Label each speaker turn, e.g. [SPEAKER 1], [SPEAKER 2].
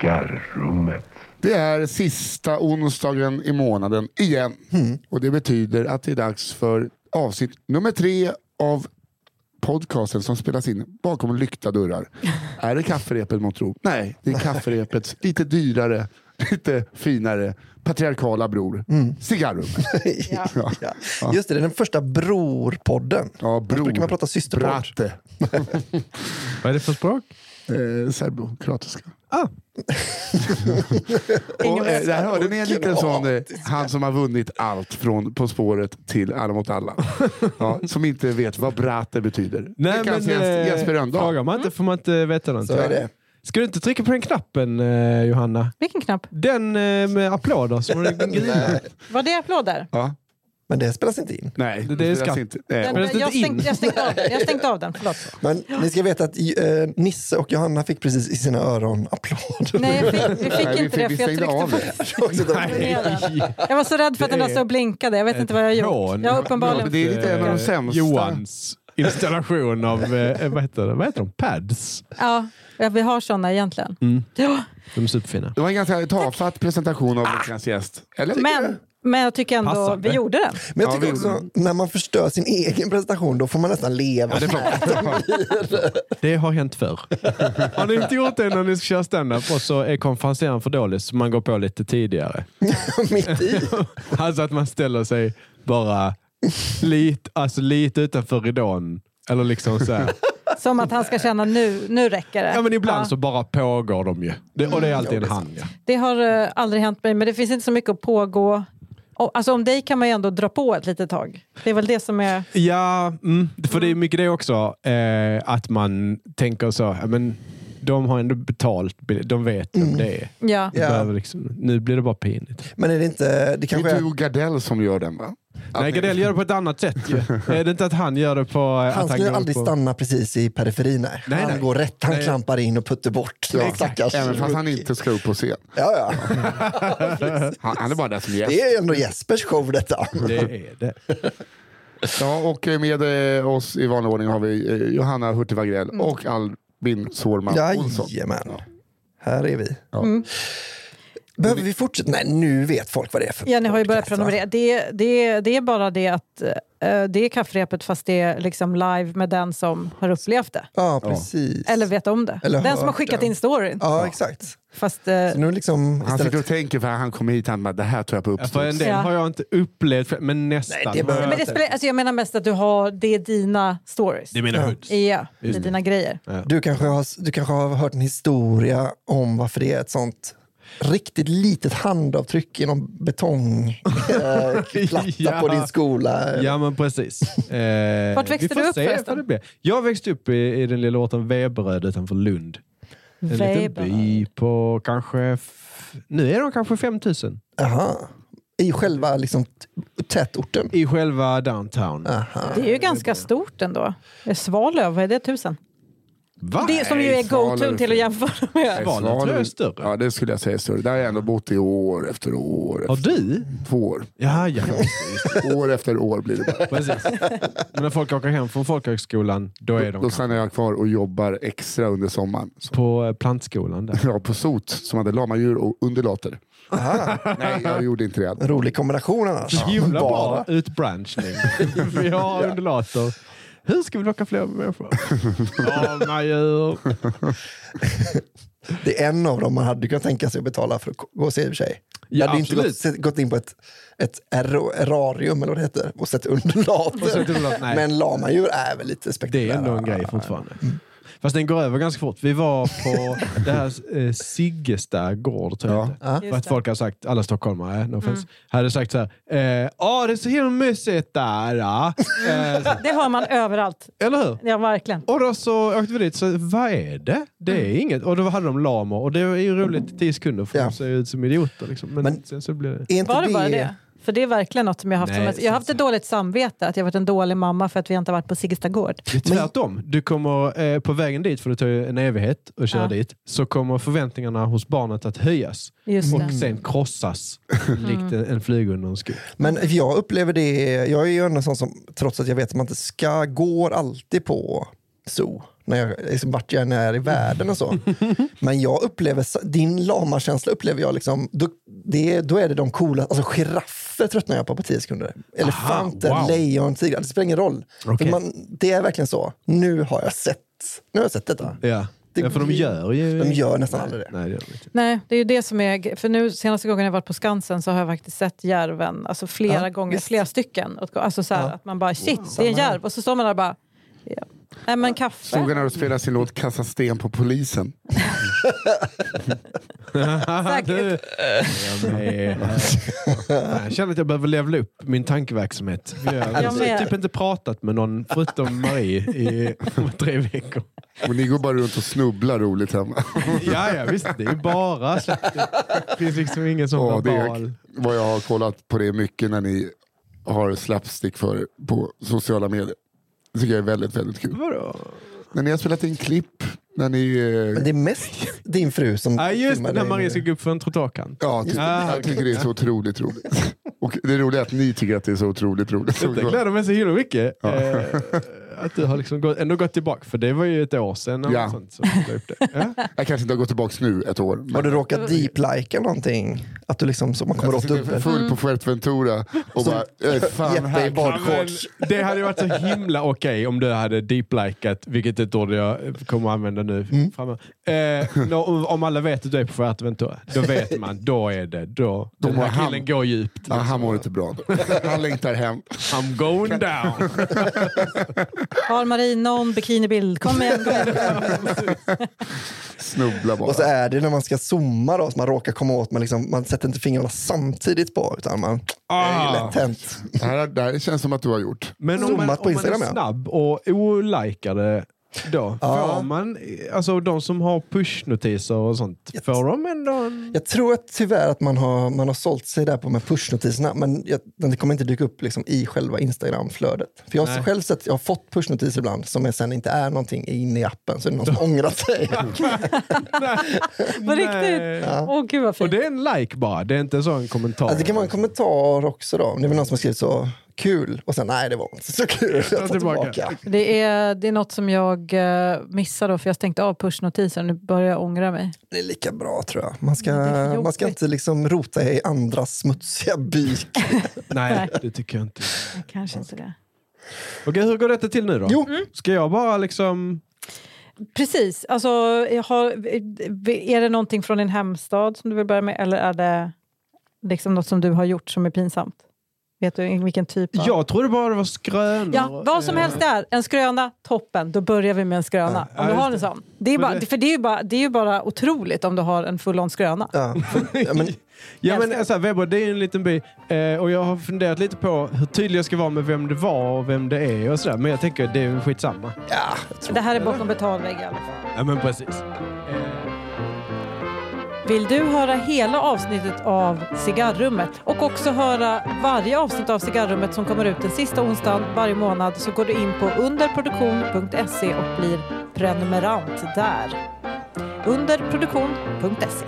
[SPEAKER 1] Gitarrrummet.
[SPEAKER 2] Det är sista onsdagen i månaden igen. Och det betyder att det är dags för avsnitt nummer tre av podcasten som spelas in bakom lyckta dörrar. är det kafferepet mot tro? Nej, det är kafferepets lite dyrare, lite finare patriarkala bror. Cigarrummet.
[SPEAKER 3] Ja.
[SPEAKER 2] Ja.
[SPEAKER 3] Ja. Just det, det är den första brorpodden.
[SPEAKER 2] Ja,
[SPEAKER 3] Annars
[SPEAKER 2] bror.
[SPEAKER 3] brukar man prata systerpodd.
[SPEAKER 2] Bratte.
[SPEAKER 4] Vad är det för språk? Ah.
[SPEAKER 2] Eh, Serbokroatiska.
[SPEAKER 3] Ingen
[SPEAKER 2] Och, eh, där hörde ni en liten sån, eh,
[SPEAKER 3] Kroatiska.
[SPEAKER 2] han som har vunnit allt från På spåret till Alla mot alla. Ja, som inte vet vad brate betyder. Veckans gäst,
[SPEAKER 4] eh,
[SPEAKER 2] Jesper Rönndahl.
[SPEAKER 4] Frågar man inte får man inte veta något.
[SPEAKER 3] Så är det.
[SPEAKER 4] Ska du inte trycka på den knappen, eh, Johanna?
[SPEAKER 5] Vilken knapp?
[SPEAKER 4] Den eh, med applåder som den grinar.
[SPEAKER 5] Var det applåder?
[SPEAKER 2] Ja.
[SPEAKER 3] Men det spelas inte in.
[SPEAKER 2] Nej,
[SPEAKER 4] Det- det är
[SPEAKER 2] spelas
[SPEAKER 4] skatt.
[SPEAKER 2] inte. Nej.
[SPEAKER 5] Den,
[SPEAKER 4] men det är
[SPEAKER 5] jag,
[SPEAKER 4] inte in.
[SPEAKER 5] stängde, jag, stängde av den. jag stängde av den, förlåt.
[SPEAKER 3] Men ni ska veta att eh, Nisse och Johanna fick precis i sina öron applåder.
[SPEAKER 5] Nej, jag fick, vi fick
[SPEAKER 2] Nej, vi
[SPEAKER 5] inte
[SPEAKER 2] fick- vi
[SPEAKER 5] det för jag
[SPEAKER 2] stängde av
[SPEAKER 5] tryckte
[SPEAKER 2] det.
[SPEAKER 5] på
[SPEAKER 3] Jag också tänkte,
[SPEAKER 5] Jag var så rädd för att den där
[SPEAKER 4] Det är
[SPEAKER 5] stod och blinkade. Jag vet inte vad jag har gjort.
[SPEAKER 4] Hån.
[SPEAKER 5] Jag har
[SPEAKER 2] Ja, men
[SPEAKER 5] uppenbarligen...
[SPEAKER 2] det är lite en av de
[SPEAKER 4] Eh,
[SPEAKER 2] sämsta.
[SPEAKER 4] Johans installation av, eh, vad, heter det? vad heter de? Pads.
[SPEAKER 5] Ja, vi har såna egentligen. Ja,
[SPEAKER 4] De är superfina.
[SPEAKER 2] Det var en ganska tafatt presentation av veckans gäst. Eller?
[SPEAKER 5] Ah. men, men jag tycker ändå
[SPEAKER 4] Passande.
[SPEAKER 5] vi gjorde den.
[SPEAKER 3] Men jag
[SPEAKER 2] Ja,
[SPEAKER 3] tycker
[SPEAKER 2] vi
[SPEAKER 3] också,
[SPEAKER 2] gjorde
[SPEAKER 3] när man förstör sin egen presentation, då får man nästan leva.
[SPEAKER 2] Ja, det är bra.
[SPEAKER 4] Det har hänt förr. Har ni inte gjort det när ni ska köra standup och så är konferencieren för dålig så man går på lite tidigare?
[SPEAKER 3] Mitt i.
[SPEAKER 4] Alltså att man ställer sig bara lite, alltså lite utanför ridån. Eller liksom så här.
[SPEAKER 5] Som att han ska känna nu, nu räcker det.
[SPEAKER 4] Ja men ibland
[SPEAKER 5] Ja,
[SPEAKER 4] så bara pågår de ju. Det, och det
[SPEAKER 3] Mm.
[SPEAKER 4] är alltid en han. Ja.
[SPEAKER 5] Det har eh, aldrig hänt mig, men det finns inte så mycket att pågå. Och, alltså om dig kan man ju ändå dra på ett litet tag. Det är väl det som är...
[SPEAKER 4] Ja, mm, för det är mycket det också. Eh, att man tänker så, ja, men de har ändå betalt, bil- de vet vem det är.
[SPEAKER 5] Ja.
[SPEAKER 4] De
[SPEAKER 3] Mm. Ja.
[SPEAKER 4] behöver liksom, nu blir det bara pinigt.
[SPEAKER 3] Men är det inte... Det
[SPEAKER 2] Det
[SPEAKER 3] kanske
[SPEAKER 2] är
[SPEAKER 3] är...
[SPEAKER 2] du och Gardell som gör den va?
[SPEAKER 4] Nej, Gardell gör det på ett annat sätt ju. Är det inte att han gör det på... eh,
[SPEAKER 3] Han
[SPEAKER 4] att
[SPEAKER 3] skulle
[SPEAKER 4] går
[SPEAKER 3] aldrig
[SPEAKER 4] på...
[SPEAKER 3] stanna precis i periferin. Nej.
[SPEAKER 4] Nej,
[SPEAKER 3] han
[SPEAKER 4] nej.
[SPEAKER 3] går rätt, han
[SPEAKER 4] Nej.
[SPEAKER 3] klampar in och putter bort. Ja. Stackars
[SPEAKER 2] Även fast han
[SPEAKER 3] rookie.
[SPEAKER 2] inte ska upp på scen.
[SPEAKER 3] Ja, ja.
[SPEAKER 2] Han, han är bara där som gäst.
[SPEAKER 3] Det är ändå Jespers show detta.
[SPEAKER 4] Det är det.
[SPEAKER 2] Ja, och med eh, oss i vanlig ordning har vi eh, Johanna Hurtig Wagrell och Albin Sårman Olsson.
[SPEAKER 3] Mm. Jajamän. Här är vi.
[SPEAKER 5] Mm.
[SPEAKER 3] Behöver vi fortsätta? Nej, nu vet folk vad det är för
[SPEAKER 5] Ja, ni har ju börjat
[SPEAKER 3] podcast, va?
[SPEAKER 5] prenumerera. Det, det, det är bara det att eh, det är kafferepet fast det är liksom live med den som har upplevt det.
[SPEAKER 3] Ja, precis.
[SPEAKER 5] Eller vet om det.
[SPEAKER 3] Eller
[SPEAKER 5] den som har
[SPEAKER 3] hört
[SPEAKER 5] skickat
[SPEAKER 3] det.
[SPEAKER 5] in storyn.
[SPEAKER 3] Ja, exakt.
[SPEAKER 5] Fast, eh,
[SPEAKER 3] Så nu
[SPEAKER 2] Han
[SPEAKER 3] liksom
[SPEAKER 2] sitter
[SPEAKER 3] istället...
[SPEAKER 2] och tänker för han kom hit han bara, det här tror jag på
[SPEAKER 4] Ja, För en
[SPEAKER 2] uppstuds.
[SPEAKER 4] del
[SPEAKER 5] Ja.
[SPEAKER 4] har jag inte upplevt, men nästan.
[SPEAKER 3] Nej, det behöver
[SPEAKER 4] har
[SPEAKER 5] men
[SPEAKER 4] jag-
[SPEAKER 5] det spelar, alltså jag menar mest att du har, det är dina stories.
[SPEAKER 4] Det är mina hoods.
[SPEAKER 5] Ja, det är dina grejer.
[SPEAKER 3] Du kanske, har, du kanske har hört en historia om varför det är ett sånt riktigt litet handavtryck i någon betongplatta
[SPEAKER 4] Ja.
[SPEAKER 3] på din skola.
[SPEAKER 4] Ja, men precis. Eh,
[SPEAKER 5] Vart växte
[SPEAKER 4] vi får
[SPEAKER 5] du upp
[SPEAKER 4] se vad
[SPEAKER 5] förresten?
[SPEAKER 4] det blir. Jag växte upp i, i den lilla orten Veberöd utanför Lund. En liten
[SPEAKER 5] Veberöd.
[SPEAKER 4] by på kanske... F- nu är de kanske 5000
[SPEAKER 3] Aha. I själva liksom, t- tätorten.
[SPEAKER 4] i själva downtown.
[SPEAKER 3] Aha.
[SPEAKER 5] Det är ju ganska stort ändå. Eh, Svalöv, vad är det? Tusen?
[SPEAKER 4] Va?
[SPEAKER 5] Det som ju är go-to
[SPEAKER 2] Svalöv.
[SPEAKER 5] till att jämföra med.
[SPEAKER 4] Svalöv tror jag är större.
[SPEAKER 2] Ja, det skulle jag säga är större. Där har jag ändå bott i år efter år.
[SPEAKER 4] Har
[SPEAKER 2] Efter
[SPEAKER 4] du?
[SPEAKER 2] två år.
[SPEAKER 4] Ja, ja.
[SPEAKER 2] År efter år blir det.
[SPEAKER 4] precis. Men när folk åker hem från folkhögskolan, då är de
[SPEAKER 2] Då stannar jag kvar och jobbar extra under sommaren. Så
[SPEAKER 4] på eh, plantskolan där.
[SPEAKER 2] jag var på sot som hade lamadjur och undulater. Nej, jag gjorde inte det.
[SPEAKER 3] Rolig kombination annars.
[SPEAKER 4] Så Himla
[SPEAKER 3] Bara.
[SPEAKER 4] bra utbranschning. Vi har undulater. Hur ska vi locka fler människor? Lamadjur.
[SPEAKER 3] Det är en av dem man hade kunnat tänka sig att betala för att gå och se i och för sig.
[SPEAKER 4] Ja,
[SPEAKER 3] jag hade inte
[SPEAKER 4] absolut.
[SPEAKER 3] gått, sett- gått in på ett, ett erro- erarium eller vad det heter och sett undulater.
[SPEAKER 4] sett undulater, nej.
[SPEAKER 3] Men lamadjur är väl lite
[SPEAKER 4] Det är
[SPEAKER 3] spektakulära.
[SPEAKER 4] ändå en grej fortfarande. Fast den går över ganska fort. Vi var på det här eh, Siggesta gård, tror jag
[SPEAKER 5] Ja.
[SPEAKER 4] ja.
[SPEAKER 5] Just
[SPEAKER 4] För att
[SPEAKER 5] det.
[SPEAKER 4] folk har sagt, alla stockholmare, eh, no offense, hade sagt så här. eh, "Ah, det är så himla mysigt där. ah." Eh, så-
[SPEAKER 5] Det hör man överallt.
[SPEAKER 4] eller hur?
[SPEAKER 5] Ja, verkligen.
[SPEAKER 4] Och då så åkte vi dit, så vad är det? Det är inget. Och då hade de lamor och det är ju roligt i tio sekunder för
[SPEAKER 3] Ja.
[SPEAKER 4] de ser ut som idioter. Liksom. Men,
[SPEAKER 3] Men-
[SPEAKER 4] sen så blir det...
[SPEAKER 3] Är inte
[SPEAKER 5] Var det bara det? För det är verkligen något som jag har haft.
[SPEAKER 4] Nej,
[SPEAKER 5] som
[SPEAKER 4] det
[SPEAKER 5] ett, jag har haft ett dåligt samvete att jag har varit en dålig mamma för att vi inte har varit på Siggesta gård.
[SPEAKER 4] Det är tvärtom. Du kommer eh, på vägen dit, för det tar ju en evighet att köra
[SPEAKER 5] Ja.
[SPEAKER 4] dit, så kommer förväntningarna hos barnet att höjas.
[SPEAKER 5] Just
[SPEAKER 4] och
[SPEAKER 5] det. Mm.
[SPEAKER 4] sen krossas likt en, en flyg under en skog.
[SPEAKER 3] Men jag upplever det, jag är ju ändå en sån som, trots att jag vet att man inte ska, går alltid på zoo. när jag, liksom, vart jag än är i världen och så. Men jag upplever, sa- din lama-känsla upplever jag liksom, då, det, är- då är det de coola, alltså giraffer tröttnar jag på på 10 sekunder. Elefanter,
[SPEAKER 4] Ah, wow.
[SPEAKER 3] lejon, tigrar, det spelar ingen roll.
[SPEAKER 4] Okej.
[SPEAKER 3] För man, det är verkligen så, nu har jag sett, nu har jag sett detta.
[SPEAKER 4] Ja.
[SPEAKER 3] Det
[SPEAKER 4] ja, för de
[SPEAKER 3] blir-
[SPEAKER 4] gör ju...
[SPEAKER 3] De gör nästan aldrig det.
[SPEAKER 4] Nej, det gör de inte.
[SPEAKER 5] Nej, det är ju det som är... För nu senaste gången jag varit på Skansen så har jag faktiskt sett järven, alltså flera
[SPEAKER 3] Ja,
[SPEAKER 5] gånger,
[SPEAKER 3] visst.
[SPEAKER 5] flera stycken. åt- Alltså så här, att man bara shit, det är en
[SPEAKER 3] Samma här.
[SPEAKER 5] järv. Och så står man där och bara... Ja. Nej men kaffe.
[SPEAKER 2] Såg jag när de spelade sin låt Kasta sten på polisen.
[SPEAKER 5] Säkert.
[SPEAKER 4] Jag, med. Fan, jag känner att jag behöver levla upp min tankeverksamhet. Jag har
[SPEAKER 5] Jag med.
[SPEAKER 4] typ inte pratat med någon förutom Marie i tre veckor.
[SPEAKER 2] Och ni går bara runt och snubblar roligt hemma.
[SPEAKER 4] Ja, ja visst. Det är ju bara släkt. Det finns liksom ingen som
[SPEAKER 2] Ja, det
[SPEAKER 4] verbal...
[SPEAKER 2] är vad jag har kollat på det mycket när ni har slapstick för er på sociala medier. Det tycker jag är väldigt, väldigt kul.
[SPEAKER 4] Vadå?
[SPEAKER 2] När ni har spelat in klipp, när ni...
[SPEAKER 3] Men
[SPEAKER 2] eh,
[SPEAKER 3] det är mest din fru som
[SPEAKER 4] Nej, just
[SPEAKER 3] filmar
[SPEAKER 4] när
[SPEAKER 3] dig.
[SPEAKER 4] Marie ska gå upp för en trottoarkant.
[SPEAKER 2] Ja, ty-
[SPEAKER 4] Ah,
[SPEAKER 2] jag
[SPEAKER 4] okej.
[SPEAKER 2] tycker det är så otroligt roligt. Och det roliga är att ni tycker att det är så otroligt roligt.
[SPEAKER 4] Det gläder mig så himla mycket. Eh, att du har liksom gått, ändå gått tillbaka, för det var ju ett år sedan. eller
[SPEAKER 2] Ja.
[SPEAKER 4] något Sånt, som du la upp det. Ja.
[SPEAKER 2] Jag kanske inte har gått tillbaka nu ett år. men-
[SPEAKER 3] Har du råkat deep-lika någonting? Att du liksom, så man kommer
[SPEAKER 4] Alltså,
[SPEAKER 3] åt
[SPEAKER 2] Jag sitter
[SPEAKER 3] dubbel?
[SPEAKER 2] full på Fuerteventura
[SPEAKER 3] Mm.
[SPEAKER 2] och bara, jag är fan
[SPEAKER 3] Jeppe i
[SPEAKER 2] här.
[SPEAKER 3] bad-
[SPEAKER 4] Ja, men,
[SPEAKER 3] Shorts.
[SPEAKER 4] det hade ju varit så himla okej om du hade deep-likat, vilket är ett ord jag kommer att använda nu
[SPEAKER 2] Mm.
[SPEAKER 4] framöver. Eh, nå- om alla vet att du är på Fuerteventura, då vet man. Då är det. Då,
[SPEAKER 2] De
[SPEAKER 4] den här
[SPEAKER 2] har ham-
[SPEAKER 4] killen går djupt.
[SPEAKER 2] Ja, han mår inte bra. Då. Han längtar hem.
[SPEAKER 4] I'm going down.
[SPEAKER 5] Har Marie någon bikinibild? Kom igen. Kom igen.
[SPEAKER 2] Snubbla bara.
[SPEAKER 3] Och så är det när man ska zooma då, så man råkar komma åt, men liksom, man sätter inte fingrarna samtidigt på, utan man
[SPEAKER 4] Ah.
[SPEAKER 3] det är lätt hänt.
[SPEAKER 2] Det här, det här känns som att du har gjort.
[SPEAKER 4] Men Alltså, om
[SPEAKER 3] Zoomat
[SPEAKER 4] man,
[SPEAKER 3] på
[SPEAKER 4] om man är
[SPEAKER 3] Instagram, ja.
[SPEAKER 4] snabb och olikar det då,
[SPEAKER 3] Ja.
[SPEAKER 4] får man, alltså de som har pushnotiser och sånt, får de ändå en...
[SPEAKER 3] Jag tror att tyvärr att man har, man har sålt sig där på med pushnotiserna, men jag, den kommer inte dyka upp liksom i själva Instagram-flödet. För jag har
[SPEAKER 4] Nej.
[SPEAKER 3] själv sett, jag har fått pushnotiser ibland som är- sen inte är någonting inne i appen, så är det någon som ångrat sig. Alltså,
[SPEAKER 5] På
[SPEAKER 4] Nej.
[SPEAKER 5] riktigt? Typ. Åh gud vad
[SPEAKER 4] Och
[SPEAKER 5] fint.
[SPEAKER 4] det är en like bara, det är inte en sån kommentar.
[SPEAKER 3] Alltså, det kan vara en kommentar också då, om det är väl någon som har skrivit så kul, och sen nej det var inte så kul, jag tar
[SPEAKER 4] tillbaka.
[SPEAKER 3] tillbaka.
[SPEAKER 5] Det är, det är något som jag eh, missade då, för jag stängde av pushnotiser och nu börjar jag ångra mig.
[SPEAKER 3] Det är lika bra tror jag. Man ska,
[SPEAKER 5] Det är för
[SPEAKER 3] man ska
[SPEAKER 5] jobbigt.
[SPEAKER 3] inte liksom rota i andras smutsiga byk.
[SPEAKER 4] Nej, det tycker jag inte.
[SPEAKER 5] Jag kanske inte det.
[SPEAKER 4] Okej, hur går detta till nu då?
[SPEAKER 3] Jo.
[SPEAKER 5] Mm.
[SPEAKER 4] Ska jag bara liksom...
[SPEAKER 5] Precis. Alltså, jag har, är det någonting från din hemstad som du vill börja med eller är det liksom något som du har gjort som är pinsamt? Vet du vilken typ av...
[SPEAKER 4] Jag trodde bara det var skrönor.
[SPEAKER 5] Ja, vad som
[SPEAKER 4] Eh,
[SPEAKER 5] helst det är. En skröna, toppen. Då börjar vi med en skröna.
[SPEAKER 4] Ja,
[SPEAKER 5] om du
[SPEAKER 4] just
[SPEAKER 5] har
[SPEAKER 4] det.
[SPEAKER 5] en sån. Det är,
[SPEAKER 4] Men
[SPEAKER 5] bara,
[SPEAKER 4] det-
[SPEAKER 5] För det är ju bara, det är ju bara otroligt om du har en full-on skröna.
[SPEAKER 3] Ja. Ja, men,
[SPEAKER 4] Ja, men alltså, Webber, det är ju en liten by. Eh, och jag har funderat lite på hur tydlig jag ska vara med vem det var och vem det är och sådär. Men jag tänker att det är ju skitsamma.
[SPEAKER 3] ja, jag tror
[SPEAKER 5] Det här är bakom betalvägg i alla fall.
[SPEAKER 4] Ja, men precis. Eh,
[SPEAKER 5] Vill du höra hela avsnittet av Cigarrummet och också höra varje avsnitt av Cigarrummet som kommer ut den sista onsdagen varje månad så går du in på underproduktion.se och blir prenumerant där. underproduktion.se